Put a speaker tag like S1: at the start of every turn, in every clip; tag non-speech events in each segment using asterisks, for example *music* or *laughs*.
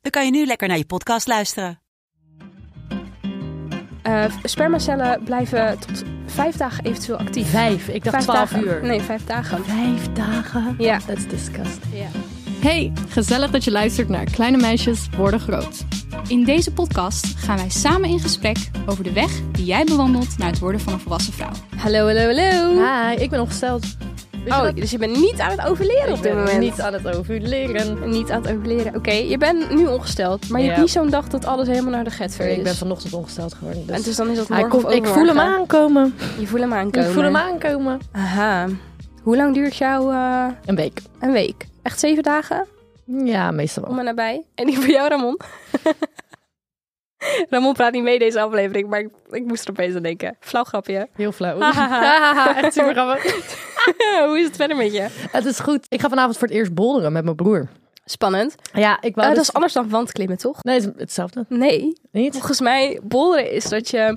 S1: dan kan je nu lekker naar je podcast luisteren.
S2: Eh, spermacellen blijven tot vijf dagen eventueel actief.
S3: Vijf, ik dacht
S2: Vijf
S3: twaalf
S2: dagen.
S3: uur.
S2: Nee, vijf dagen.
S3: Vijf dagen?
S2: Ja.
S3: Dat is disgusting.
S2: Ja.
S4: Hey, gezellig dat je luistert naar Kleine Meisjes Worden Groot.
S5: In deze podcast gaan wij samen in gesprek over de weg die jij bewandelt naar het worden van een volwassen vrouw.
S2: Hallo, hallo, hallo.
S3: Hi, ik ben ongesteld. Weet je
S2: oh,
S3: dat?
S2: dus je bent niet aan het overleren op dit
S3: ik ben
S2: moment.
S3: niet aan het overleren.
S2: Niet aan het overleren. Oké, je bent nu ongesteld. Maar je
S3: Ja.
S2: hebt niet zo'n dag dat alles helemaal naar de getver is.
S3: Ik ben vanochtend ongesteld geworden. Dus.
S2: En dus dan is dat
S3: Hij
S2: morgen
S3: komt-
S2: of
S3: ik voel hem
S2: overmorgen.
S3: aankomen.
S2: Je voelt hem aankomen.
S3: Ik voel hem aankomen.
S2: Aha. Hoe lang duurt jouw eh,
S3: Een week.
S2: een week? Echt zeven dagen?
S3: Ja, meestal wel.
S2: Om en nabij. En die voor jou, Ramon. *laughs* Ramon praat niet mee deze aflevering, maar ik, ik moest er opeens aan denken. Flauw grapje.
S3: Heel *laughs* flauw.
S2: Hahaha.
S3: Echt super grappig.
S2: *laughs* Hoe is het verder met je?
S3: Het is goed. Ik ga vanavond voor het eerst bolderen met mijn broer.
S2: Spannend.
S3: Ja, ik wou...
S2: Eh, dat
S3: dus-
S2: is anders dan wandklimmen, toch?
S3: Nee, het is hetzelfde.
S2: Nee.
S3: Niet?
S2: Volgens mij, bolderen is dat je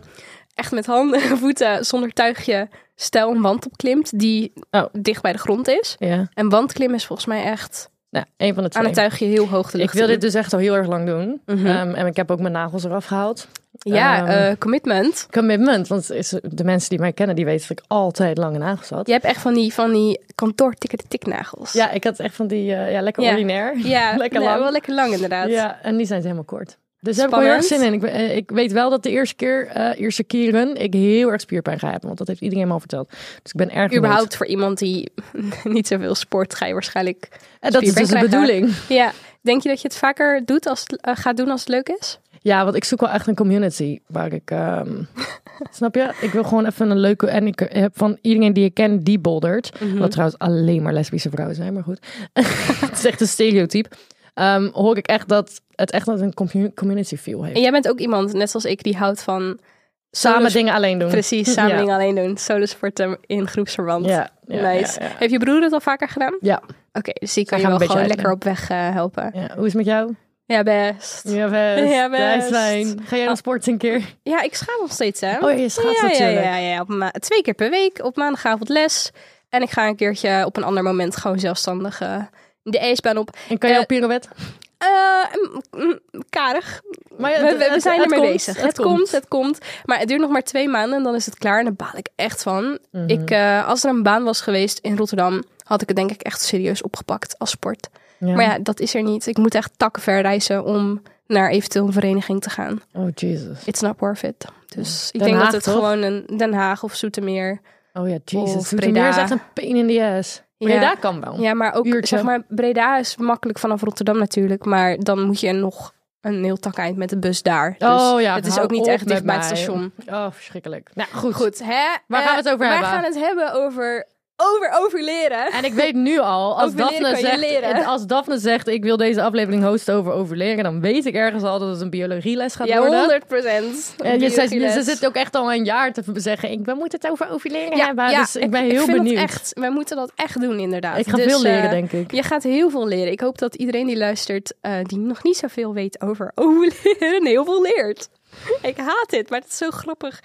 S2: echt met handen en voeten zonder tuigje stijl een wand opklimt die
S3: Oh.
S2: dicht bij de grond is.
S3: Ja.
S2: En wandklimmen is volgens mij echt
S3: Nou, een van de twee.
S2: aan het tuigje heel hoog de
S3: ik
S2: lucht
S3: wil
S2: in.
S3: dit dus echt al heel erg lang doen.
S2: Mhm.
S3: Ehm, en ik heb ook mijn nagels eraf gehaald.
S2: Ja,
S3: Ehm,
S2: eh, commitment.
S3: commitment. Want is, de mensen die mij kennen, die weten dat ik altijd lange nagels had.
S2: Je hebt echt van die, van die kantoor tiknagels.
S3: Ja, ik had echt van die, eh, ja, lekker
S2: Ja.
S3: ordinair.
S2: ja
S3: *laughs* lekker
S2: nee,
S3: lang.
S2: wel lekker lang inderdaad.
S3: Ja, en die zijn helemaal kort. Dus daar heb ik wel heel erg
S2: Spannend.
S3: zin in. Ik, ben- eh, ik weet wel dat de eerste keer, eh, eerste keren, ik heel erg spierpijn ga hebben. Want dat heeft iedereen me al verteld. Dus ik ben erg benieuwd.
S2: Überhaupt voor iemand die *laughs* niet zoveel sport, ga je waarschijnlijk...
S3: En dat is dus de
S2: spierpijn krijgen.
S3: bedoeling.
S2: Ja, denk je dat je het vaker doet als, het- eh, gaat doen als het leuk is?
S3: Ja, want ik zoek wel echt een community waar ik... ehm,
S2: *laughs*
S3: snap je? Ik wil gewoon even een leuke... En ik heb van iedereen die ik ken, die boldert.
S2: Mhm.
S3: Wat trouwens alleen maar lesbische vrouwen zijn, maar goed. *laughs* het is echt een stereotype. Ehm, hoor ik echt dat het echt wel een commu- community feel heeft.
S2: En jij bent ook iemand, net zoals ik, die houdt van...
S3: Samen
S2: solo-
S3: dingen alleen doen.
S2: Precies, samen
S3: *laughs* Ja.
S2: dingen alleen doen. Solo sporten in groepsverband.
S3: Ja, ja,
S2: nice.
S3: ja, ja.
S2: Heeft je broer dat al vaker gedaan? Oké,
S3: Ja.
S2: dus die
S3: Zij
S2: kan je
S3: gaan
S2: wel
S3: een
S2: gewoon
S3: beetje
S2: lekker op weg eh, helpen.
S3: ja. Hoe is het met jou?
S2: Ja, best. Ja,
S3: Ja, best.
S2: Ja, best.
S3: Daar is fijn. Ga jij dan
S2: Oh.
S3: sport een keer?
S2: ik schaam nog steeds, hè?
S3: Oh, je schaatst
S2: ja, ja,
S3: natuurlijk.
S2: ja, ja. Op ma- twee keer per week, op maandagavond les. En ik ga een keertje op een ander moment gewoon zelfstandig eh, de ijsbaan op.
S3: En kan jij
S2: Eh,
S3: op pirouette?
S2: Eh, mm, mm, karig.
S3: Maar
S2: We,
S3: ja,
S2: we- we
S3: het-
S2: zijn
S3: het
S2: ermee
S3: komt,
S2: bezig.
S3: het
S2: Eh, Het, komt.
S3: komt.
S2: het komt. Maar het duurt nog maar twee maanden en dan is het klaar. En daar baal ik echt van.
S3: Mhm.
S2: Ik, eh, als er een baan was geweest in Rotterdam, had ik het denk ik echt serieus opgepakt als sport. Maar ja, dat is er niet. Ik moet echt takken ver reizen om naar eventueel een vereniging te gaan.
S3: Oh, Jesus.
S2: It's not worth it. Dus ik
S3: Den
S2: denk
S3: Haag,
S2: dat het
S3: toch?
S2: gewoon een Den Haag of Zoetermeer.
S3: Oh ja, Jesus.
S2: Of
S3: Zoetermeer is
S2: Breda.
S3: echt een pain in the ass.
S2: Ja.
S3: Breda kan wel.
S2: Ja, maar ook
S3: Uurtje.
S2: zeg maar Breda is makkelijk vanaf Rotterdam natuurlijk. Maar dan moet je nog een heel tak eind met de bus daar. Dus
S3: Oh ja,
S2: het is
S3: hou
S2: ook niet
S3: op
S2: echt dicht
S3: met
S2: bij het
S3: mij.
S2: station.
S3: Oh, verschrikkelijk. Nou, goed.
S2: Goed, hè?
S3: Waar gaan we het over hebben?
S2: We gaan het hebben over, over overleren.
S3: En ik weet nu al, als
S2: Ook weer leren
S3: Daphne,
S2: kan je
S3: zegt,
S2: leren.
S3: als Daphne zegt, ik wil deze aflevering hosten over overleren, dan weet ik ergens al dat het een biologieles gaat
S2: ja,
S3: worden.
S2: 100 procent.
S3: En je- ze, ze zit ook echt al een jaar te zeggen, ik we moeten het over overleren hebben. dus ik ben heel
S2: vind dat
S3: benieuwd.
S2: echt, wij moeten dat echt doen, inderdaad.
S3: Ik ga
S2: Dus,
S3: veel leren,
S2: eh,
S3: denk
S2: *laughs*
S3: ik.
S2: Je gaat heel veel leren. Ik hoop dat iedereen die luistert, eh, die nog niet zoveel weet over *laughs* overleren, heel veel leert. Ik haat dit, maar het is zo grappig.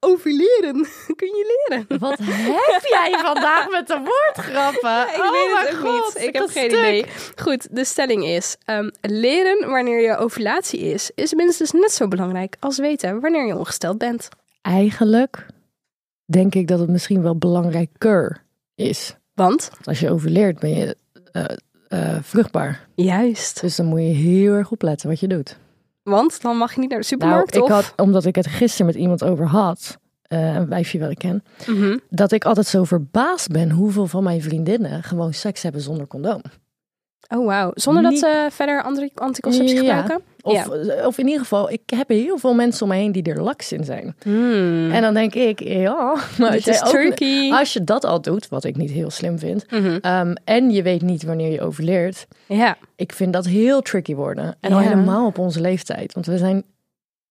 S2: Overleren *laughs* kun je leren.
S3: Wat heb jij vandaag met de woordgrappen?
S2: *laughs* Ik
S3: *laughs* oh
S2: weet
S3: mijn
S2: het ook
S3: god,
S2: niet. Ik
S3: een
S2: heb geen
S3: stuk.
S2: idee. Goed, de stelling is: ehm, leren wanneer je ovulatie is, is minstens net zo belangrijk als weten wanneer je ongesteld bent.
S3: Eigenlijk denk ik dat het misschien wel belangrijker is.
S2: Want
S3: Want als je overleert ben je eh, eh, vruchtbaar.
S2: juist,
S3: Dus dan moet je heel erg opletten wat je doet.
S2: want dan mag je niet naar de supermarkt
S3: Nou, ik
S2: of.
S3: had, omdat ik het gisteren met iemand over had, eh, een wijfje wel ik ken,
S2: Mhm.
S3: dat ik altijd zo verbaasd ben hoeveel van mijn vriendinnen gewoon seks hebben zonder condoom.
S2: Oh wauw, zonder dat
S3: Niet-
S2: ze verder andere anticonceptie
S3: Ja.
S2: gebruiken.
S3: Of, eh, of in ieder geval, ik heb heel veel mensen om me heen die er laks in zijn. En dan denk ik, ja, *laughs* maar
S2: Dit
S3: het
S2: is
S3: Nou,
S2: dus
S3: ook-
S2: turkey.
S3: als je dat al doet, wat ik niet heel slim vind, ehm, en je weet niet wanneer je overleert,
S2: Mhm. Ja.
S3: ik vind dat heel tricky worden. En al
S2: Ja.
S3: helemaal op onze leeftijd, want we zijn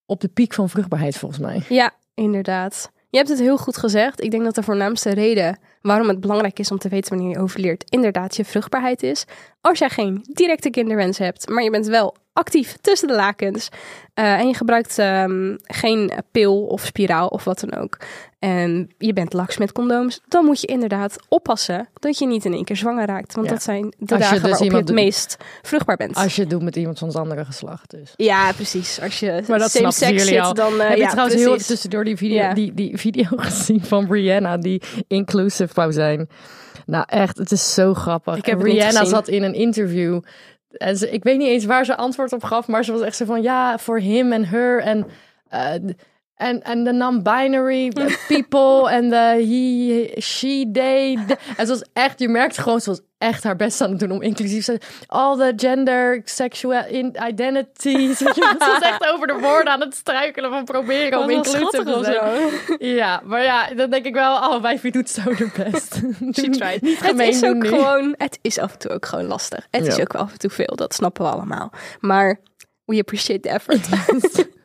S3: op de piek van vruchtbaarheid volgens mij.
S2: Ja, inderdaad. Je hebt het heel goed gezegd. Ik denk dat de voornaamste reden waarom het belangrijk is om te weten wanneer je overleert, inderdaad je vruchtbaarheid is. Als jij geen directe kinderwens hebt, maar je bent wel actief tussen de lakens eh, en je gebruikt ehm, geen pil of spiraal of wat dan ook. En je bent laks met condooms, dan moet je inderdaad oppassen dat je niet in één keer zwanger raakt. Want
S3: Ja.
S2: dat zijn de
S3: je
S2: dagen
S3: dus
S2: waarop je
S3: iemand
S2: het
S3: doet-
S2: meest vruchtbaar bent.
S3: Als je het doet met iemand van het andere geslacht dus.
S2: Ja, precies. Als je
S3: Maar dat
S2: same
S3: snapten
S2: sex
S3: jullie
S2: zit,
S3: al.
S2: dan eh,
S3: Heb je
S2: ja,
S3: trouwens heel
S2: precies.
S3: tussendoor die video,
S2: Ja.
S3: die, die video *laughs* gezien van Rihanna die inclusive wou zijn? Nou echt, het is zo grappig.
S2: Ik heb
S3: En
S2: het niet
S3: Rihanna
S2: gezien.
S3: zat in een interview. En ze, ik weet niet eens waar ze antwoord op gaf, maar ze was echt zo van ja, voor him en her en Eh, en en de non-binary eh,
S2: *laughs*
S3: people en de he, she, they. de- En ze was echt, je merkt gewoon, ze was echt haar best aan het doen om inclusief te zijn. All the gender, sexual in-
S2: *laughs*
S3: identities. Weet je wel, ze was echt over de woorden aan het struikelen van proberen om inclusief te zijn. *laughs* Ja, maar ja, dan denk ik wel, oh, wijfie doet zo haar
S2: *laughs*
S3: best. She
S2: tried.
S3: Niet
S2: Het
S3: gemeen
S2: is
S3: doen
S2: ook
S3: nu.
S2: gewoon, het is af en toe ook gewoon lastig. Het is
S3: Ja.
S2: ook af en toe veel, dat snappen we allemaal. Maar we appreciate the effort.
S3: *laughs*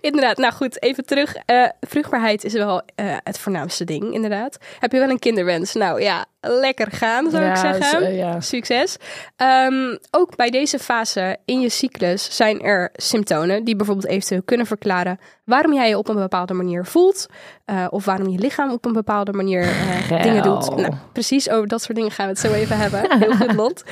S2: inderdaad, nou goed, even terug. Eh, vruchtbaarheid is wel eh, het voornaamste ding, inderdaad. Heb je wel een kinderwens? Nou ja, lekker gaan, zou ik
S3: Ja,
S2: zeggen.
S3: zo- ja.
S2: Succes. Ehm, ook bij deze fase in je cyclus zijn er symptomen die bijvoorbeeld eventueel kunnen verklaren waarom jij je op een bepaalde manier voelt. eh, of waarom je lichaam op een bepaalde manier eh,
S3: Geil.
S2: dingen doet. Nou, precies over dat soort dingen gaan we het zo even
S3: *laughs*
S2: hebben. Heel goed, Lot.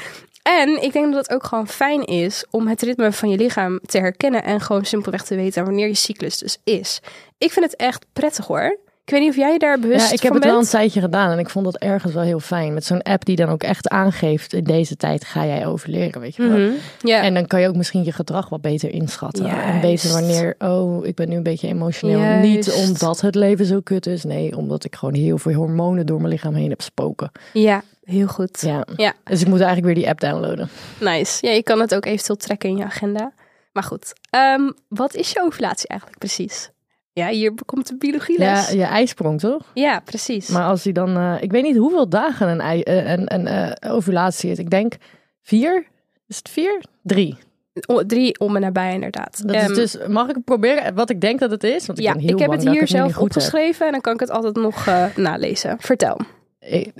S2: En ik denk dat het ook gewoon fijn is om het ritme van je lichaam te herkennen. En gewoon simpelweg te weten wanneer je cyclus dus is. Ik vind het echt prettig hoor. Ik weet niet of jij daar bewust
S3: Ja, ik heb
S2: van
S3: het wel een
S2: bent.
S3: tijdje gedaan en ik vond dat ergens wel heel fijn. Met zo'n app die dan ook echt aangeeft, in deze tijd ga jij overleren, weet je wel.
S2: Mhm. Ja.
S3: En dan kan je ook misschien je gedrag wat beter inschatten. En
S2: Juist.
S3: weten wanneer, oh, ik ben nu een beetje emotioneel.
S2: Juist.
S3: Niet omdat het leven zo kut is. Nee, omdat ik gewoon heel veel hormonen door mijn lichaam heen heb spoken.
S2: ja, heel goed.
S3: Ja.
S2: Ja.
S3: Dus ik moet eigenlijk weer die app downloaden.
S2: Nice. Ja, je kan het ook eventueel trekken in je agenda. Maar goed, ehm, wat is je ovulatie eigenlijk precies? Ja, hier komt de biologieles.
S3: Ja,
S2: Ja,
S3: je ijsprong toch?
S2: precies.
S3: Maar als die dan, eh, ik weet niet hoeveel dagen een, ei, eh, een, een eh, ovulatie is. Ik denk vier. Is het vier? Drie.
S2: O, drie om en nabij inderdaad.
S3: Dat is
S2: Ehm,
S3: dus, mag ik proberen wat ik denk dat het is? Want ik
S2: ja,
S3: ben heel
S2: ik heb
S3: bang
S2: het
S3: dat
S2: hier
S3: ik nu
S2: zelf
S3: niet goed heb.
S2: opgeschreven en dan kan ik het altijd nog eh, nalezen. Vertel.
S3: Ik-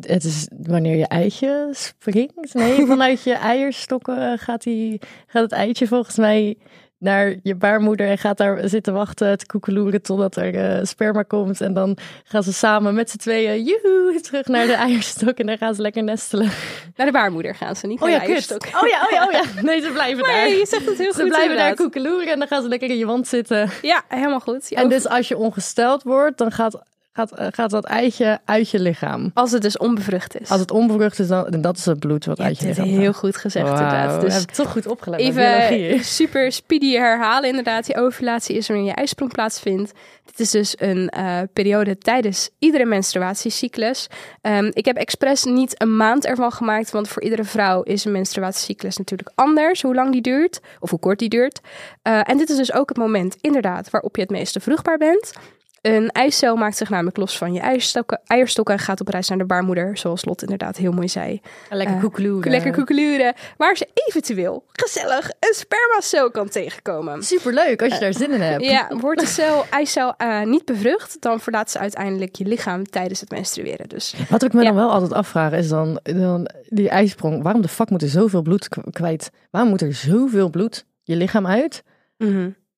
S3: Het is wanneer je eitje springt. *laughs* Nee, vanuit je eierstokken eh, gaat, die, gaat het eitje volgens mij naar je baarmoeder en gaat daar zitten wachten te koekeloeren totdat er eh, sperma komt. En dan gaan ze samen met z'n tweeën joehoe, terug naar *laughs* de eierstok en daar gaan ze lekker nestelen.
S2: Naar de baarmoeder gaan ze niet. naar de eierstok.
S3: Oh ja, oh ja,
S2: *laughs*
S3: oh ja. *laughs* Nee, ze blijven daar.
S2: Nee, je zegt het heel
S3: Ze
S2: goed
S3: blijven daar
S2: inderdaad.
S3: koekeloeren en dan gaan ze lekker in je wand zitten.
S2: Ja, helemaal goed. Ja,
S3: En
S2: ook-
S3: dus als je ongesteld wordt, dan gaat, gaat, eh, gaat dat eitje uit je lichaam.
S2: als het dus onbevrucht is.
S3: Als het onbevrucht is, dan en dat is het bloed wat
S2: Je
S3: uit
S2: hebt
S3: je
S2: het
S3: lichaam
S2: heel
S3: gaat.
S2: goed gezegd
S3: Wauw,
S2: inderdaad. Dus
S3: heb ik toch goed opgelet met biologie.
S2: Even eh, super speedy herhalen inderdaad. Die ovulatie is wanneer je ijsprong plaatsvindt. Dit is dus een eh, periode tijdens iedere menstruatiecyclus. Ehm, ik heb expres niet een maand ervan gemaakt, want voor iedere vrouw is een menstruatiecyclus natuurlijk anders. Hoe lang die duurt of hoe kort die duurt. Eh, en dit is dus ook het moment inderdaad waarop je het meeste vruchtbaar bent. Een eicel maakt zich namelijk los van je eierstokken, eierstokken en gaat op reis naar de baarmoeder, zoals Lot inderdaad heel mooi zei.
S3: Lekker
S2: eh,
S3: koekeloeren.
S2: Lekker koekeluren. Waar ze eventueel gezellig een spermacel kan tegenkomen.
S3: Superleuk als je daar zin in hebt.
S2: Eh, Ja, wordt de cel, *laughs* eicel eh, niet bevrucht, dan verlaat ze uiteindelijk je lichaam tijdens het menstrueren. Dus
S3: Wat ik me
S2: Ja.
S3: dan wel altijd afvraag is dan, dan die ijsprong. Waarom de fuck moet er zoveel bloed k- kwijt? Waarom moet er zoveel bloed je lichaam uit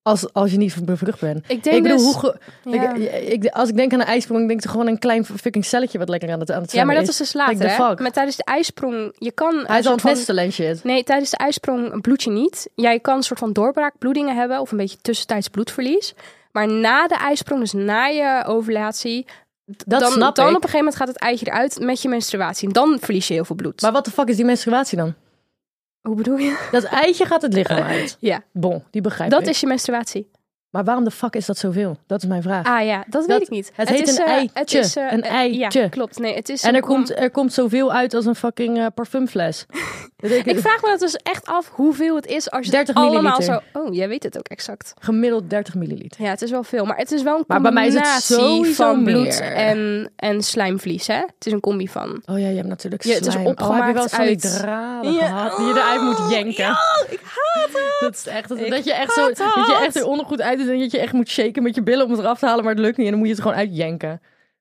S3: als, als je niet bevrucht bent?
S2: ik denk
S3: Mhm. ik bedoel,
S2: dus...
S3: hoe ge-
S2: ja.
S3: ik, ik- als ik denk aan een ijsprong, denk ik gewoon een klein fucking celletje wat lekker aan het, aan het
S2: ja, maar
S3: zwemmen
S2: dat is dus later,
S3: Like the
S2: hè?
S3: fuck.
S2: Maar tijdens de ijsprong, je kan... een
S3: Hij is al aan
S2: soort
S3: het
S2: van-
S3: nestelen en shit.
S2: Nee, tijdens de ijsprong bloed je niet. Jij kan een soort van doorbraakbloedingen hebben of een beetje tussentijds bloedverlies. Maar na de ijsprong, dus na je ovulatie,
S3: Dat
S2: dan,
S3: snap
S2: dan
S3: ik.
S2: op een gegeven moment gaat het eitje eruit met je menstruatie. En dan verlies je heel veel bloed.
S3: Maar wat de fuck is die menstruatie dan?
S2: Hoe bedoel je?
S3: *laughs* Dat eitje gaat het lichaam uit.
S2: Ja.
S3: Bon, die begrijp
S2: Dat
S3: ik.
S2: is je menstruatie.
S3: Maar waarom de fuck is dat zoveel? Dat is mijn vraag.
S2: Ah ja, dat,
S3: Dat-
S2: weet ik niet.
S3: het heet een
S2: eh,
S3: eitje.
S2: eh,
S3: Een
S2: eh, Ja,
S3: eitje.
S2: klopt. Nee, het is
S3: en
S2: een
S3: er
S2: kom-
S3: komt, er komt zoveel uit als een fucking eh, *laughs* parfumfles. Dat ik,
S2: Ik vraag me dat dus echt af hoeveel het is als je
S3: 30
S2: het allemaal
S3: milliliter.
S2: zo... Oh, jij weet het ook exact.
S3: Gemiddeld 30 milliliter.
S2: Ja, het is wel veel. Maar het is wel een
S3: Maar
S2: combinatie
S3: bij mij is het sowieso
S2: van bloed
S3: meer.
S2: en, en slijmvlies, hè? Het is een combi van.
S3: Oh ja, je hebt natuurlijk
S2: Ja, het is
S3: slijm. oh, heb je wel
S2: opgemaakt
S3: eens van die
S2: uit-
S3: draden
S2: Ja.
S3: gehad die je eruit moet jenken?
S2: Oh, ik haat het!
S3: Dat is echt, dat,
S2: Ik
S3: dat je echt zo,
S2: haat
S3: dat je
S2: het.
S3: echt er ondergoed uit is en dat je echt moet shaken met je billen om het eraf te halen, maar het lukt niet en dan moet je het gewoon uitjenken.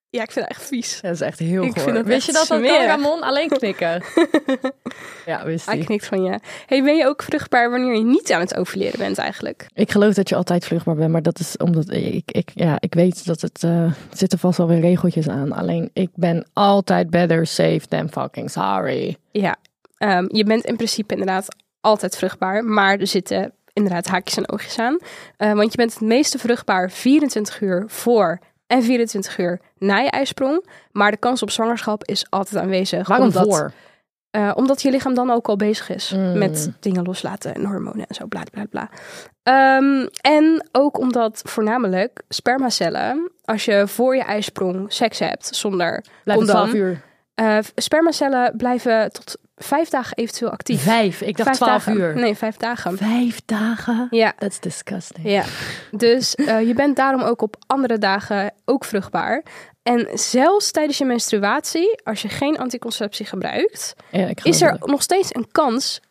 S2: Ja, ik vind het echt vies.
S3: Ja, dat is echt heel
S2: Ik
S3: goor.
S2: vind dat
S3: Wist
S2: echt
S3: je dat dat
S2: smerig.
S3: kan Ramon alleen *laughs* knikken? ja, wist
S2: Hij
S3: ik.
S2: knikt van ja. Hey, ben je ook vruchtbaar wanneer je niet aan het ovuleren bent eigenlijk?
S3: Ik geloof dat je altijd vluchtbaar bent, maar dat is omdat ik, ik, ja, ik weet dat het eh, zitten vast wel weer regeltjes aan. Alleen ik ben altijd better safe than fucking sorry.
S2: Ja, ehm, je bent in principe inderdaad altijd vruchtbaar, maar er zitten inderdaad haakjes en oogjes aan. Eh, want je bent het meeste vruchtbaar 24 uur voor en 24 uur na je ijsprong. Maar de kans op zwangerschap is altijd aanwezig.
S3: Waarom
S2: omdat,
S3: voor?
S2: eh, omdat je lichaam dan ook al bezig is
S3: Mm.
S2: met dingen loslaten en hormonen en zo, bla bla bla. Ehm, en ook omdat voornamelijk spermacellen, als je voor je ijsprong seks hebt zonder
S3: Blijf het
S2: condoom,
S3: 12 uur.
S2: eh, spermacellen blijven tot vijf dagen eventueel actief.
S3: Vijf, ik
S2: Vijf
S3: dacht 12
S2: dagen.
S3: uur.
S2: Nee, vijf dagen.
S3: Vijf dagen?
S2: Ja,
S3: That's disgusting.
S2: ja. Dus eh, je bent daarom ook op andere dagen ook vruchtbaar. En zelfs tijdens je menstruatie, als je geen anticonceptie gebruikt,
S3: Ja, ik geloof
S2: is er
S3: het.
S2: nog steeds een kans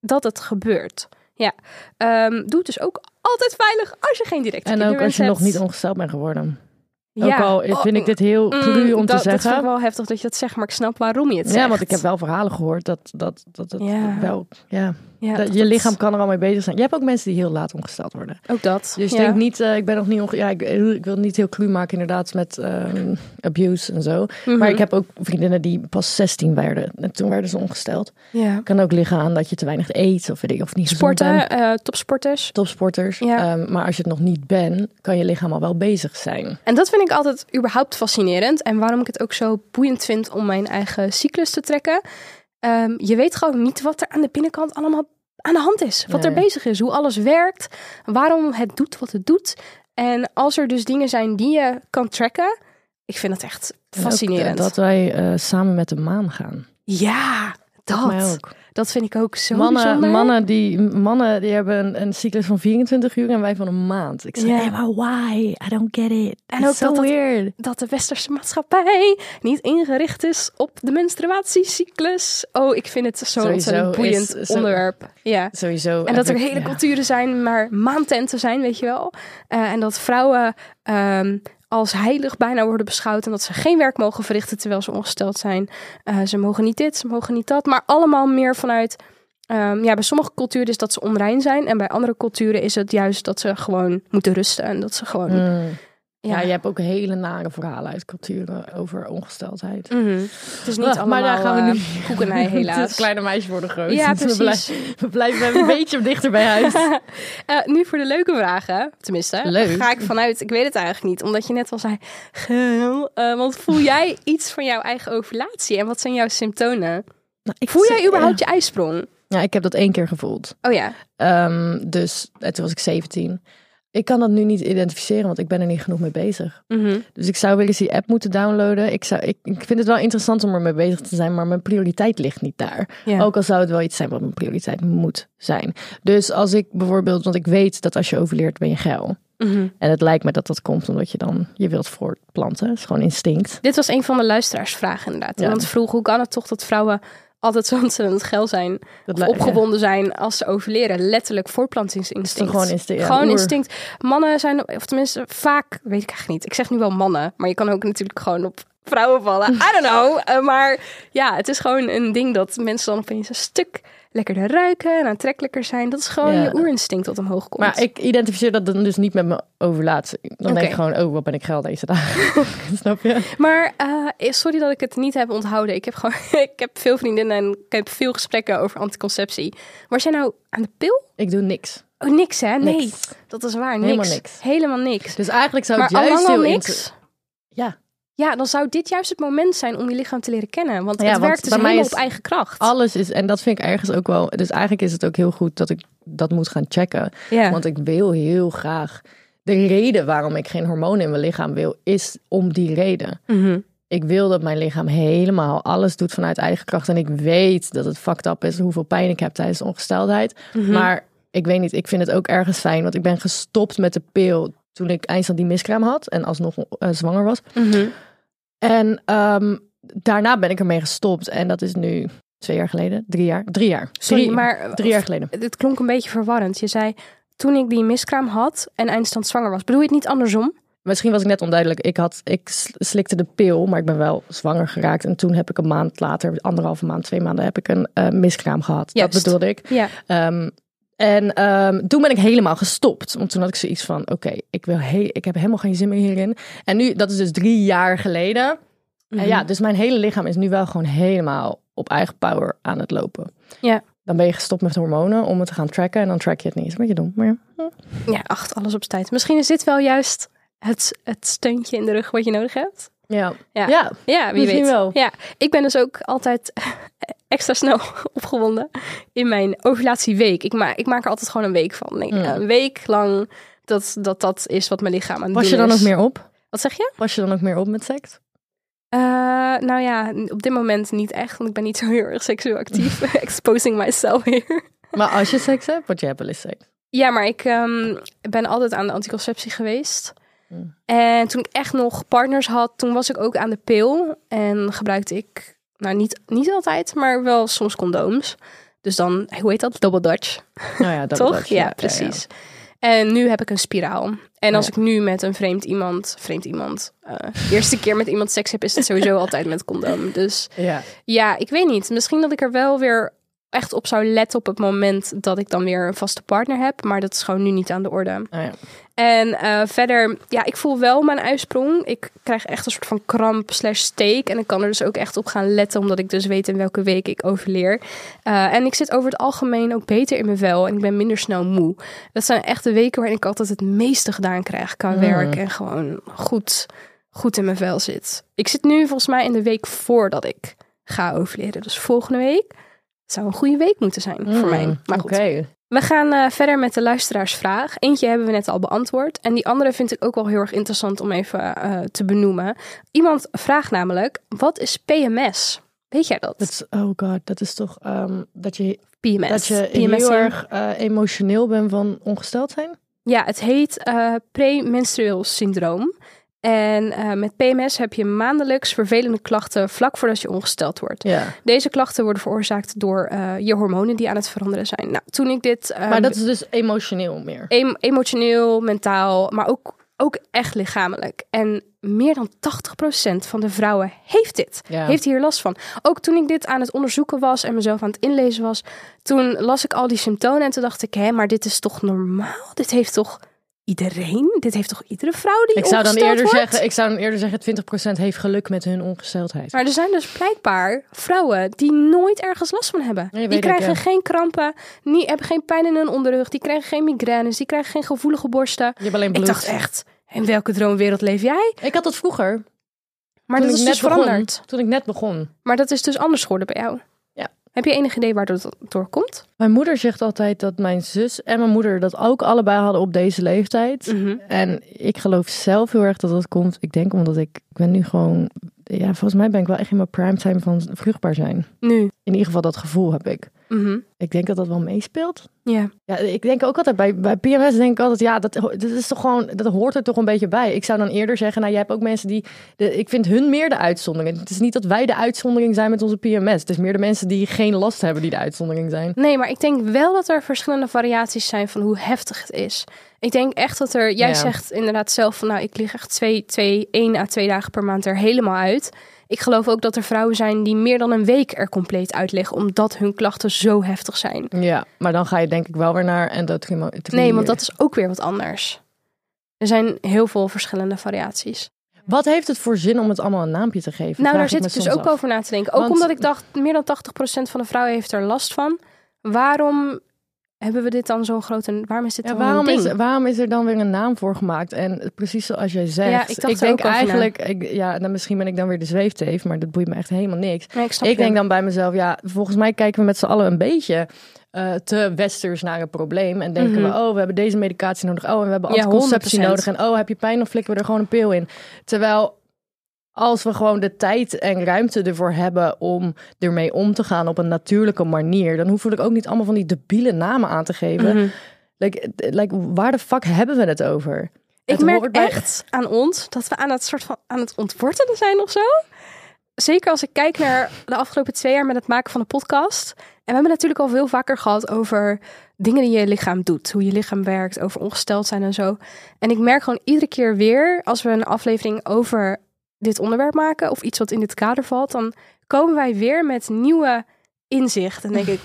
S2: dat het gebeurt. Ja, Ehm, doe het dus ook altijd veilig als je geen directe
S3: En ook
S2: kinderwens
S3: als je
S2: hebt.
S3: nog niet ongesteld bent geworden.
S2: Ja.
S3: Ook al
S2: Oh,
S3: vind ik dit heel
S2: mm,
S3: cru
S2: dat,
S3: om te
S2: Dat vind ik
S3: zeggen.
S2: wel heftig dat je dat zegt, maar ik snap waarom je het zegt.
S3: Ja, want ik heb wel verhalen gehoord dat dat, dat, dat
S2: Ja.
S3: wel... Ja,
S2: Ja,
S3: dat,
S2: dat
S3: je
S2: het-
S3: lichaam kan er al mee bezig zijn. Je hebt ook mensen die heel laat ongesteld worden.
S2: Ook dat.
S3: Dus
S2: ja.
S3: denk niet, eh, ik ben nog niet onge- ja, ik, eh, ik wil het niet heel cru maken inderdaad met ehm, abuse en zo.
S2: Mhm.
S3: Maar ik heb ook vriendinnen die pas 16 werden en toen werden ze ongesteld.
S2: Mhm. Ja.
S3: Kan ook liggen aan dat je te weinig eet of weet ik of niet gezond bent.
S2: Sporten, eh, topsporters.
S3: Topsporters.
S2: Ja.
S3: Ehm, maar als je het nog niet bent, kan je lichaam al wel bezig zijn.
S2: En dat vind ik altijd überhaupt fascinerend. En waarom ik het ook zo boeiend vind om mijn eigen cyclus te trekken. Ehm, je weet gewoon niet wat er aan de binnenkant allemaal aan de hand is. Wat er
S3: Nee.
S2: bezig is, hoe alles werkt, waarom het doet wat het doet. En als er dus dingen zijn die je kan tracken, ik vind dat echt
S3: En ook, eh,
S2: fascinerend.
S3: dat wij eh, samen met de maan gaan.
S2: Ja,
S3: Mij
S2: dat.
S3: ook.
S2: Dat vind ik ook zo bijzonder.
S3: Mannen, mannen, die, mannen die hebben een, een cyclus van 24 uur en wij van een maand. Ik zeg,
S2: Ja.
S3: "Eh, maar why? I don't get it.
S2: En
S3: It's
S2: ook
S3: so
S2: dat dat-
S3: weird.
S2: dat de westerse maatschappij niet ingericht is op de menstruatiecyclus. Oh, ik vind het zo'n
S3: Sowieso
S2: ontzettend boeiend
S3: is- zo-
S2: onderwerp. Ja.
S3: Sowieso.
S2: En dat er
S3: heb ik-
S2: hele
S3: ja.
S2: culturen zijn, maar maantenten zijn, weet je wel. Eh, en dat vrouwen ehm, als heilig bijna worden beschouwd en dat ze geen werk mogen verrichten terwijl ze ongesteld zijn. Eh, ze mogen niet dit, ze mogen niet dat, maar allemaal meer vanuit. ehm, ja, bij sommige culturen is dat ze onrein zijn en bij andere culturen is het juist dat ze gewoon moeten rusten en dat ze gewoon.
S3: Mm. Ja. je hebt ook hele nare verhalen uit culturen over ongesteldheid.
S2: Mhm. Het is niet allemaal
S3: maar daar gaan we nu
S2: *laughs* eh,
S3: *laughs*
S2: koekenij
S3: Het
S2: helaas.
S3: is kleine meisjes worden groot.
S2: Ja,
S3: Dus *laughs* We
S2: precies.
S3: blijven, we blijven *laughs* een beetje dichter bij huis.
S2: Eh, nu voor de leuke vragen. Tenminste,
S3: Leuk.
S2: ga ik vanuit. Ik weet het eigenlijk niet. Omdat je net al zei. Geel, eh, want voel *laughs* jij iets van jouw eigen ovulatie? En wat zijn jouw symptomen? Voel jij überhaupt je ijsprong?
S3: Ja, ik heb dat één keer gevoeld.
S2: Oh ja.
S3: Ehm, dus eh, toen was ik 17. Ik kan dat nu niet identificeren, want ik ben er niet genoeg mee bezig.
S2: Mhm.
S3: Dus ik zou weer eens die app moeten downloaden. Ik, zou, ik, ik vind het wel interessant om ermee bezig te zijn, maar mijn prioriteit ligt niet daar.
S2: ja.
S3: Ook al zou het wel iets zijn wat mijn prioriteit moet zijn. Dus als ik bijvoorbeeld, want ik weet dat als je overleert ben je geil.
S2: Mhm.
S3: En het lijkt me dat dat komt omdat je dan je wilt voortplanten. Het is gewoon instinct.
S2: Dit was een van de luisteraarsvragen inderdaad.
S3: Ja.
S2: Iemand vroeg hoe kan het toch dat vrouwen altijd zo ontzettend geil zijn.
S3: Dat
S2: Of
S3: lijkt-
S2: opgewonden zijn als ze overleren. Letterlijk
S3: ja,
S2: voortplantingsinstinct.
S3: gewoon instinct. ja,
S2: Gewoon
S3: oer.
S2: instinct. Mannen zijn, of tenminste vaak, weet ik eigenlijk niet. Ik zeg nu wel mannen, maar je kan ook natuurlijk gewoon op vrouwen
S3: *laughs*
S2: vallen. I don't know. Eh, maar ja, het is gewoon een ding dat mensen dan opeens een stuk lekkerder ruiken en aantrekkelijker zijn. Dat is gewoon
S3: Ja.
S2: je oerinstinct dat omhoog komt.
S3: Maar ik identificeer dat dan dus niet met mijn ovulatie. Dan
S2: Oké.
S3: denk ik gewoon, oh, wat ben ik geil deze dagen. *laughs* Snap je?
S2: Maar, eh, eh, sorry dat ik het niet heb onthouden. Ik heb gewoon, *laughs* ik heb veel vriendinnen en ik heb veel gesprekken over anticonceptie. Was jij nou aan de pil?
S3: Ik doe niks.
S2: Oh, niks hè? Nee,
S3: Niks.
S2: dat is waar. Niks.
S3: Helemaal niks.
S2: Helemaal niks.
S3: Dus eigenlijk zou
S2: maar
S3: ik juist
S2: allemaal
S3: heel...
S2: niks.
S3: inter- Ja,
S2: Ja, dan zou dit juist het moment zijn om je lichaam te leren kennen. Want
S3: Ja,
S2: het
S3: want
S2: werkt dus
S3: bij mij
S2: helemaal
S3: is
S2: op eigen kracht.
S3: alles is... En dat vind ik ergens ook wel... Dus eigenlijk is het ook heel goed dat ik dat moet gaan checken.
S2: ja.
S3: Want ik wil heel graag de reden waarom ik geen hormonen in mijn lichaam wil, is om die reden.
S2: Mhm.
S3: Ik wil dat mijn lichaam helemaal alles doet vanuit eigen kracht. En ik weet dat het fucked up is hoeveel pijn ik heb tijdens ongesteldheid.
S2: Mhm.
S3: Maar ik weet niet, ik vind het ook ergens fijn. Want ik ben gestopt met de pil toen ik eindstand die miskraam had. En alsnog eh, zwanger was.
S2: Mhm.
S3: En ehm, daarna ben ik ermee gestopt. En dat is nu twee jaar geleden. Drie jaar. Drie jaar.
S2: Sorry,
S3: Drie-
S2: maar eh,
S3: Drie jaar geleden.
S2: het klonk een beetje verwarrend. Je zei toen ik die miskraam had en eindstand zwanger was. Bedoel je het niet andersom?
S3: Misschien was ik net onduidelijk. Ik, had, ik s- slikte de pil, maar ik ben wel zwanger geraakt. En toen heb ik een maand later, anderhalve maand, twee maanden, heb ik een eh, miskraam gehad.
S2: Juist.
S3: Dat bedoelde ik.
S2: Ja.
S3: Ehm, en ehm, toen ben ik helemaal gestopt. Want toen had ik zoiets van, oké, ik wil he- ik heb helemaal geen zin meer hierin. En nu, dat is dus drie jaar geleden.
S2: Mhm. Mm-hmm.
S3: En ja, dus mijn hele lichaam is nu wel gewoon helemaal op eigen power aan het lopen.
S2: Ja.
S3: Dan ben je gestopt met hormonen om het te gaan tracken. En dan track je het niet. Dat is een beetje dom, maar ja.
S2: Ja, acht alles op zijn tijd. Misschien is dit wel juist het, het steuntje in de rug wat je nodig hebt.
S3: Ja.
S2: Ja.
S3: ja.
S2: Ja, wie
S3: Misschien
S2: weet.
S3: wel.
S2: Ja, ik ben dus ook altijd *laughs* extra snel *laughs* opgewonden in mijn ovulatieweek. Ik, ma ik maak er altijd gewoon een week van. Ik denk, Een week lang dat, dat dat is wat mijn lichaam aan het
S3: Was je
S2: doen
S3: dan
S2: is.
S3: ook meer op?
S2: Wat zeg je?
S3: Pas je dan ook meer op met seks?
S2: Eh, nou ja, op dit moment niet echt, want ik ben niet zo heel erg seksueel
S3: *laughs*
S2: actief. Exposing myself *laughs* here.
S3: Maar als je seks hebt, word je hebt wel eens seks.
S2: Ja, maar ik ehm, ben altijd aan de anticonceptie geweest.
S3: Hmm.
S2: En toen ik echt nog partners had, toen was ik ook aan de pil. En gebruikte ik, nou niet, niet altijd, maar wel soms condooms. Dus dan, hoe heet dat? Double Dutch,
S3: Nou ja, dat
S2: toch?
S3: dat-
S2: ja, precies. En nu heb ik een spiraal. En als ik nu met een vreemd iemand, vreemd iemand, eh, *laughs* eerste keer met iemand seks heb, is het sowieso altijd met condoom. Dus
S3: Oh Ja. Ja.
S2: ja, ik weet niet. Misschien dat ik er wel weer echt op zou letten op het moment dat ik dan weer een vaste partner heb. Maar dat is gewoon nu niet aan de orde.
S3: Nou ja.
S2: En eh, verder, ja, ik voel wel mijn uitsprong. Ik krijg echt een soort van kramp slash steek. En ik kan er dus ook echt op gaan letten, omdat ik dus weet in welke week ik overleer. Eh, en ik zit over het algemeen ook beter in mijn wel. En ik ben minder snel moe. Dat zijn echt de weken waarin ik altijd het meeste gedaan krijg qua werk. En gewoon goed, goed in mijn vel zit. Ik zit nu volgens mij in de week voordat ik ga overleren. Dus volgende week zou een goede week moeten zijn voor mij. Maar goed,
S3: Hmm, Mm, Oké.
S2: we gaan eh, verder met de luisteraarsvraag. Eentje hebben we net al beantwoord. En die andere vind ik ook wel heel erg interessant om even eh, te benoemen. Iemand vraagt namelijk: wat is PMS? Weet jij dat?
S3: Dat is- Oh god, dat is toch ehm, dat je,
S2: PMS.
S3: dat je
S2: PMS,
S3: heel
S2: ja.
S3: erg eh, emotioneel bent van ongesteld zijn?
S2: Ja, het heet eh premenstrueel syndroom. En eh, met PMS heb je maandelijks vervelende klachten vlak voordat je ongesteld wordt.
S3: Ja.
S2: Deze klachten worden veroorzaakt door eh, je hormonen die aan het veranderen zijn. Nou, toen ik dit. eh,
S3: Maar dat is dus emotioneel meer.
S2: Em- emotioneel, mentaal, maar ook, ook echt lichamelijk. En meer dan 80% van de vrouwen heeft dit.
S3: Ja.
S2: Heeft hier last van. Ook toen ik dit aan het onderzoeken was en mezelf aan het inlezen was, toen las ik al die symptomen en toen dacht ik, hé, maar dit is toch normaal? Dit heeft toch iedereen? Dit heeft toch iedere vrouw die
S3: Ik zou, dan
S2: ongesteld
S3: eerder
S2: wordt?
S3: zeggen, ik zou dan eerder zeggen, 20% heeft geluk met hun ongesteldheid.
S2: Maar er zijn dus blijkbaar vrouwen die nooit ergens last van hebben.
S3: Nee, weet
S2: die
S3: ik,
S2: krijgen
S3: ja.
S2: geen krampen, die hebben geen pijn in hun onderrug, die krijgen geen migraines, die krijgen geen gevoelige borsten.
S3: Je hebt alleen
S2: Ik
S3: bloed.
S2: dacht echt, in welke droomwereld leef jij?
S3: Ik had dat vroeger.
S2: Maar
S3: toen
S2: dat
S3: ik
S2: is
S3: net
S2: dus veranderd.
S3: Begon, toen ik net begon.
S2: Maar dat is dus anders geworden bij jou.
S3: Ja.
S2: Heb je enig idee waar dat doorkomt?
S3: Mijn moeder zegt altijd dat mijn zus en mijn moeder dat ook allebei hadden op deze leeftijd. En ik geloof zelf heel erg dat dat komt. Ik denk omdat ik, ik ben nu gewoon, ja, volgens mij ben ik wel echt in mijn primetime van vruchtbaar zijn.
S2: Nu.
S3: In ieder geval dat gevoel heb ik.
S2: Mhm.
S3: Ik denk dat dat wel meespeelt.
S2: Ja.
S3: Ja, ik denk ook altijd bij, bij PMS denk ik altijd, ja, dat, ho- dat is toch gewoon, dat hoort er toch een beetje bij. Ik zou dan eerder zeggen, nou, je hebt ook mensen die, de, ik vind hun meer de uitzondering. Het is niet dat wij de uitzondering zijn met onze PMS. Het is meer de mensen die geen last hebben die de uitzondering zijn.
S2: Nee, maar ik denk wel dat er verschillende variaties zijn van hoe heftig het is. Ik denk echt dat er, jij
S3: Ja.
S2: zegt inderdaad zelf van nou, ik lig echt twee, twee, één à twee dagen per maand er helemaal uit. Ik geloof ook dat er vrouwen zijn die meer dan een week er compleet uit liggen, omdat hun klachten zo heftig zijn.
S3: Ja, maar dan ga je denk ik wel weer naar endotrimo.
S2: Nee, want dat is ook weer wat anders. Er zijn heel veel verschillende variaties.
S3: Wat heeft het voor zin om het allemaal een naampje te geven?
S2: Nou,
S3: Vraag
S2: daar zit
S3: me
S2: ik dus
S3: soms
S2: ook
S3: af.
S2: over na te denken. Ook
S3: Want-
S2: omdat ik dacht, meer dan 80% van de vrouwen heeft er last van. Waarom hebben we dit dan zo'n grote... Waarom is dit
S3: Ja,
S2: dan
S3: waarom,
S2: een
S3: is,
S2: ding?
S3: waarom is er dan weer een naam voor gemaakt? En precies zoals jij zegt,
S2: Ja, ik dacht er
S3: denk
S2: ook over na.
S3: eigenlijk, ik, ja, dan misschien ben ik dan weer de zweefteef, maar dat boeit me echt helemaal niks.
S2: Nee, ik snap
S3: Ik
S2: je.
S3: denk dan bij mezelf, ja, volgens mij kijken we met z'n allen een beetje eh, te westers naar een probleem. En denken we, oh, we hebben deze medicatie nodig. Oh, en we hebben
S2: Ja,
S3: anticonceptie
S2: 100%.
S3: nodig. En oh, heb je pijn, dan flikken we er gewoon een pil in. Terwijl als we gewoon de tijd en ruimte ervoor hebben om ermee om te gaan op een natuurlijke manier, dan hoeven we er ook niet allemaal van die debiele namen aan te geven. Like, like, waar de fuck hebben we het over?
S2: Ik
S3: Het
S2: merk
S3: hoort bij-
S2: echt aan ons dat we aan het soort van aan het ontwortelen zijn of zo. Zeker als ik kijk naar de afgelopen twee jaar met het maken van de podcast. En we hebben natuurlijk al veel vaker gehad over dingen die je lichaam doet. Hoe je lichaam werkt, over ongesteld zijn en zo. En ik merk gewoon iedere keer weer als we een aflevering over dit onderwerp maken. Of iets wat in dit kader valt. Dan komen wij weer met nieuwe inzichten. En denk
S3: *laughs*
S2: ik,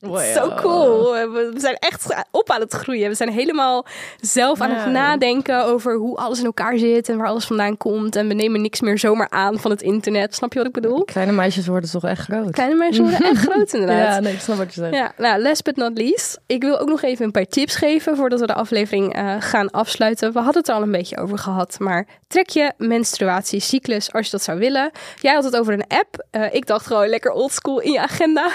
S2: wow, zo cool. We we zijn echt op aan het groeien. We zijn helemaal zelf aan
S3: Ja.
S2: het nadenken over hoe alles in elkaar zit en waar alles vandaan komt. En we nemen niks meer zomaar aan van het internet. Snap je wat ik bedoel?
S3: Kleine meisjes worden toch echt groot.
S2: Kleine mensen worden echt *laughs* groot inderdaad.
S3: Ja, nee, ik snap wat je zegt.
S2: Ja, nou, last but not least. Ik wil ook nog even een paar tips geven voordat we de aflevering eh, gaan afsluiten. We hadden het er al een beetje over gehad, maar trek je menstruatiecyclus als je dat zou willen. Jij had het over een app. Eh, ik dacht gewoon lekker oldschool in je agenda.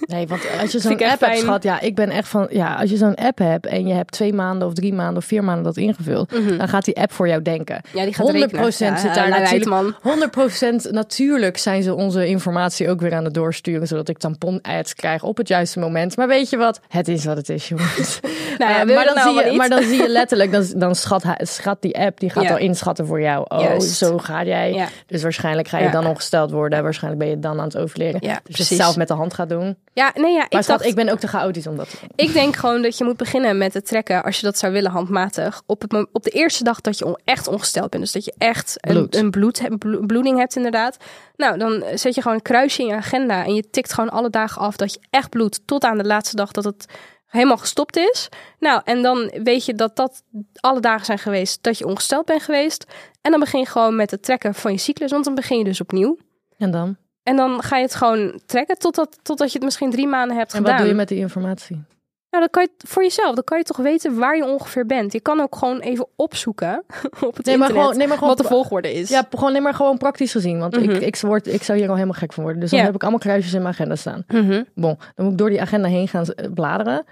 S3: Nee, want als je
S2: Vind
S3: zo'n
S2: ik echt
S3: app hebt
S2: fijn.
S3: gehad, ja, ik ben echt van, ja, als je zo'n app hebt en je hebt twee maanden of drie maanden of vier maanden dat ingevuld,
S2: Mhm.
S3: dan gaat die app voor jou denken.
S2: Ja, die gaat rekenen.
S3: 100%
S2: Ja,
S3: zit daar
S2: eh,
S3: natuurlijk.
S2: Leitman.
S3: 100% natuurlijk zijn ze onze informatie ook weer aan het doorsturen, zodat ik tampon ads krijg op het juiste moment. Maar weet je wat? Het is wat het is, jongens.
S2: *laughs* Nou ja,
S3: Eh,
S2: wil
S3: maar,
S2: je dat
S3: dan
S2: nou allemaal
S3: zie je,
S2: niet?
S3: maar dan
S2: *laughs*
S3: zie je letterlijk, dan, dan schat, hij- schat die app, die gaat
S2: Ja.
S3: al inschatten voor jou. Oh,
S2: Juist.
S3: zo ga jij.
S2: Ja.
S3: Dus waarschijnlijk ga je
S2: Ja.
S3: dan ongesteld worden. Waarschijnlijk ben je dan aan het
S2: Ja,
S3: overleden. dus je het
S2: precies.
S3: zelf met de hand gaat doen.
S2: Ja, nee, ja, ik
S3: Maar ik,
S2: dacht...
S3: ik ben ook te chaotisch om dat te doen.
S2: Ik denk gewoon dat je moet beginnen met het trekken, als je dat zou willen, handmatig. Op, het, mom- op de eerste dag dat je on- echt ongesteld bent. Dus dat je echt een,
S3: Bloed.
S2: een bloed, een blo- bloeding hebt, inderdaad. Nou, dan eh, zet je gewoon een kruisje in je agenda. En je tikt gewoon alle dagen af dat je echt bloedt. Tot aan de laatste dag dat het helemaal gestopt is. Nou, en dan weet je dat dat alle dagen zijn geweest dat je ongesteld bent geweest. En dan begin je gewoon met het trekken van je cyclus. Want dan begin je dus opnieuw.
S3: En dan?
S2: En dan ga je het gewoon trekken totdat, totdat je het misschien drie maanden hebt
S3: En
S2: gedaan.
S3: wat doe je met die informatie?
S2: Nou, dan kan je het voor jezelf, dan kan je toch weten waar je ongeveer bent. Je kan ook gewoon even opzoeken *laughs* op het
S3: Nee, maar
S2: internet
S3: gewoon- nee, maar gewoon-
S2: wat de volgorde is.
S3: Ja, gewoon alleen maar gewoon praktisch gezien. Want
S2: Mhm.
S3: ik, ik, word, ik zou hier al helemaal gek van worden. Dus dan
S2: Ja.
S3: heb ik allemaal kruisjes in mijn agenda staan.
S2: Mhm.
S3: Bon, dan moet ik door die agenda heen gaan eh, bladeren.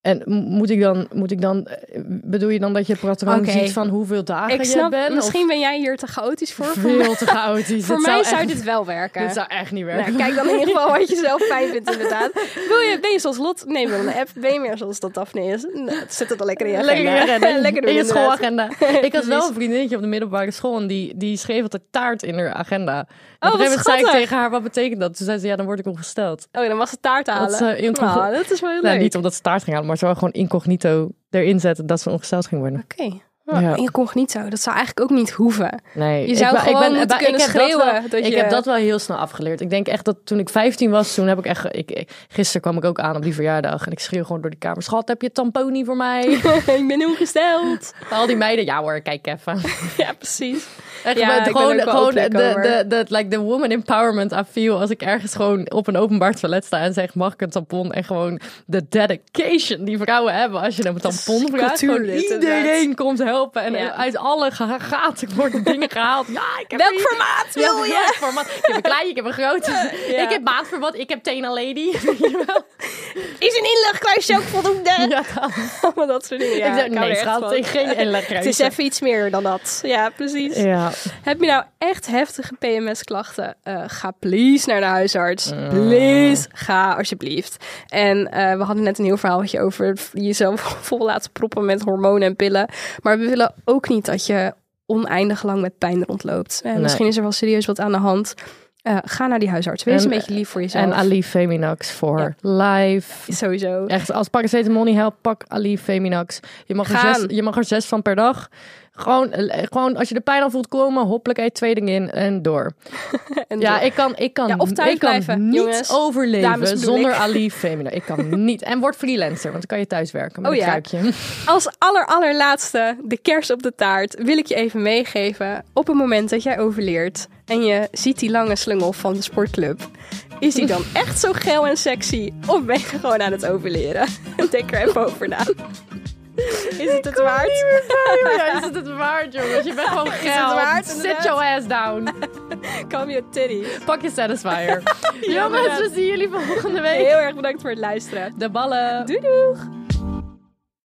S3: En m- moet ik dan, moet ik dan eh, bedoel je dan dat je het patroon
S2: Oké.
S3: ziet van hoeveel dagen
S2: Ik
S3: je
S2: snap,
S3: bent?
S2: misschien ben jij hier te chaotisch voor.
S3: of
S2: Voor, mij-
S3: veel te chaotisch.
S2: *laughs* voor
S3: *laughs* Dit
S2: mij
S3: zou
S2: zou
S3: echt-
S2: dit wel werken.
S3: Dit zou echt niet werken.
S2: Nou, kijk dan in ieder geval
S3: *laughs*
S2: wat je zelf fijn vindt, inderdaad. Wil je, ben je zoals Lot? Neem dan de app. Ben je meer zoals dat Daphne is? Nou, zet het dan lekker in je agenda.
S3: Lekker in je agenda.
S2: *laughs* lekker doen,
S3: in je
S2: inderdaad.
S3: schoolagenda. Ik had wel
S2: Precies.
S3: een vriendinnetje op de middelbare school en die, die schreef altijd taart in haar agenda. En
S2: Oh, wat
S3: op een gegeven moment zei ik
S2: schattig.
S3: tegen haar, wat betekent dat? Toen zei ze, ja, dan word ik ongesteld.
S2: Oh, dan was het taart halen.
S3: Dat is, eh, inconge-
S2: Ah, dat is wel heel
S3: Nou,
S2: leuk.
S3: niet omdat ze taart ging halen, maar ze wou gewoon incognito erin zetten dat ze ongesteld ging worden.
S2: Oké. Nou,
S3: Ja.
S2: en je kon niet zo. Dat zou eigenlijk ook niet hoeven. *laughs*
S3: Nee,
S2: Je zou
S3: ben-
S2: gewoon
S3: ben-
S2: moeten
S3: ben-
S2: kunnen
S3: ik heb dat
S2: schreeuwen
S3: wel-
S2: dat
S3: ik
S2: je-
S3: heb dat wel heel snel afgeleerd. Ik denk echt dat toen ik 15 was, toen heb ik echt... Ik, ik- gisteren kwam ik ook aan op die verjaardag en ik schreeuw gewoon door de kamer. Schat, heb je tamponi voor
S2: *laughs*
S3: mij?
S2: ik ben ongesteld.
S3: Al die meiden, ja hoor, kijk even.
S2: ja, precies.
S3: Echt,
S2: Ja,
S3: maar
S2: ik ben
S3: gewoon,
S2: ook wel
S3: gewoon de,
S2: open daarover.
S3: de, de, like the woman empowerment I feel als ik ergens gewoon op een openbaar toilet sta en zeg mag ik een tampon en gewoon de dedication die vrouwen hebben als je een tampon vraagt.
S2: cultuur
S3: Gewoon
S2: dit,
S3: iedereen
S2: inderdaad.
S3: komt helpen en
S2: Ja.
S3: uit alle ga- gaten
S2: *laughs*
S3: worden dingen gehaald. Ja, ik heb
S2: Welk
S3: hier-
S2: formaat
S3: Ja,
S2: wil je?
S3: welk formaat? Ik heb een klein, ik heb een groot.
S2: ja.
S3: *laughs* Ik heb maatverband, ik heb tena *laughs* lady. Weet je wel?
S2: Is een inlegkruisje ook voldoende?
S3: ja, dan.
S2: Allemaal dat soort dingen. Ja,
S3: ik zeg,
S2: ik hou
S3: nee
S2: er echt
S3: schat,
S2: van.
S3: ik geen
S2: *laughs* Het is even iets meer dan dat. Ja, precies.
S3: Ja.
S2: Heb je nou echt heftige PMS-klachten? Eh, ga please naar de huisarts. Please, ga alsjeblieft. En eh, we hadden net een heel verhaaltje over jezelf *laughs* vol laten proppen met hormonen en pillen. Maar we willen ook niet dat je oneindig lang met pijn rondloopt. Eh,
S3: Nee.
S2: Misschien is er wel serieus wat aan de hand. Eh, ga naar die huisarts. Wees
S3: En-
S2: een beetje lief voor jezelf.
S3: En Ali Feminax voor life.
S2: Sowieso.
S3: Echt, als paracetamol niet helpt, pak Ali Feminax. Je mag, er
S2: Gaan.
S3: zes, je mag er zes van per dag. Gewoon, eh, gewoon als je de pijn al voelt komen, hoppelijkheid, twee dingen in en door.
S2: En
S3: Ja,
S2: door.
S3: ik kan, ik kan,
S2: Ja, of thuis
S3: ik kan
S2: blijven,
S3: niet
S2: jongens. Dames
S3: overleven
S2: bedoel
S3: zonder
S2: ik.
S3: Ali Feminax. Ik kan
S2: *laughs*
S3: niet. En word freelancer, want dan kan je thuiswerken met
S2: Oh *laughs*
S3: een
S2: ja.
S3: kruikje.
S2: Als aller allerlaatste, de kers op de taart, wil ik je even meegeven. Op het moment dat jij overleert en je ziet die lange slungel van de sportclub, Is die dan echt zo geil en sexy? Of ben je gewoon aan het overleren? *laughs* Denk er even over na. Is het het waard?
S3: Ja, is
S2: *laughs*
S3: het het waard, jongens? Je bent *laughs* gewoon geil.
S2: waard,
S3: Sit
S2: inderdaad?
S3: your ass down.
S2: Come je titty.
S3: Pak je
S2: *laughs*
S3: satisfier. jongens, we zien jullie volgende week.
S2: Heel erg bedankt voor het luisteren.
S3: De ballen.
S2: Doei doeg!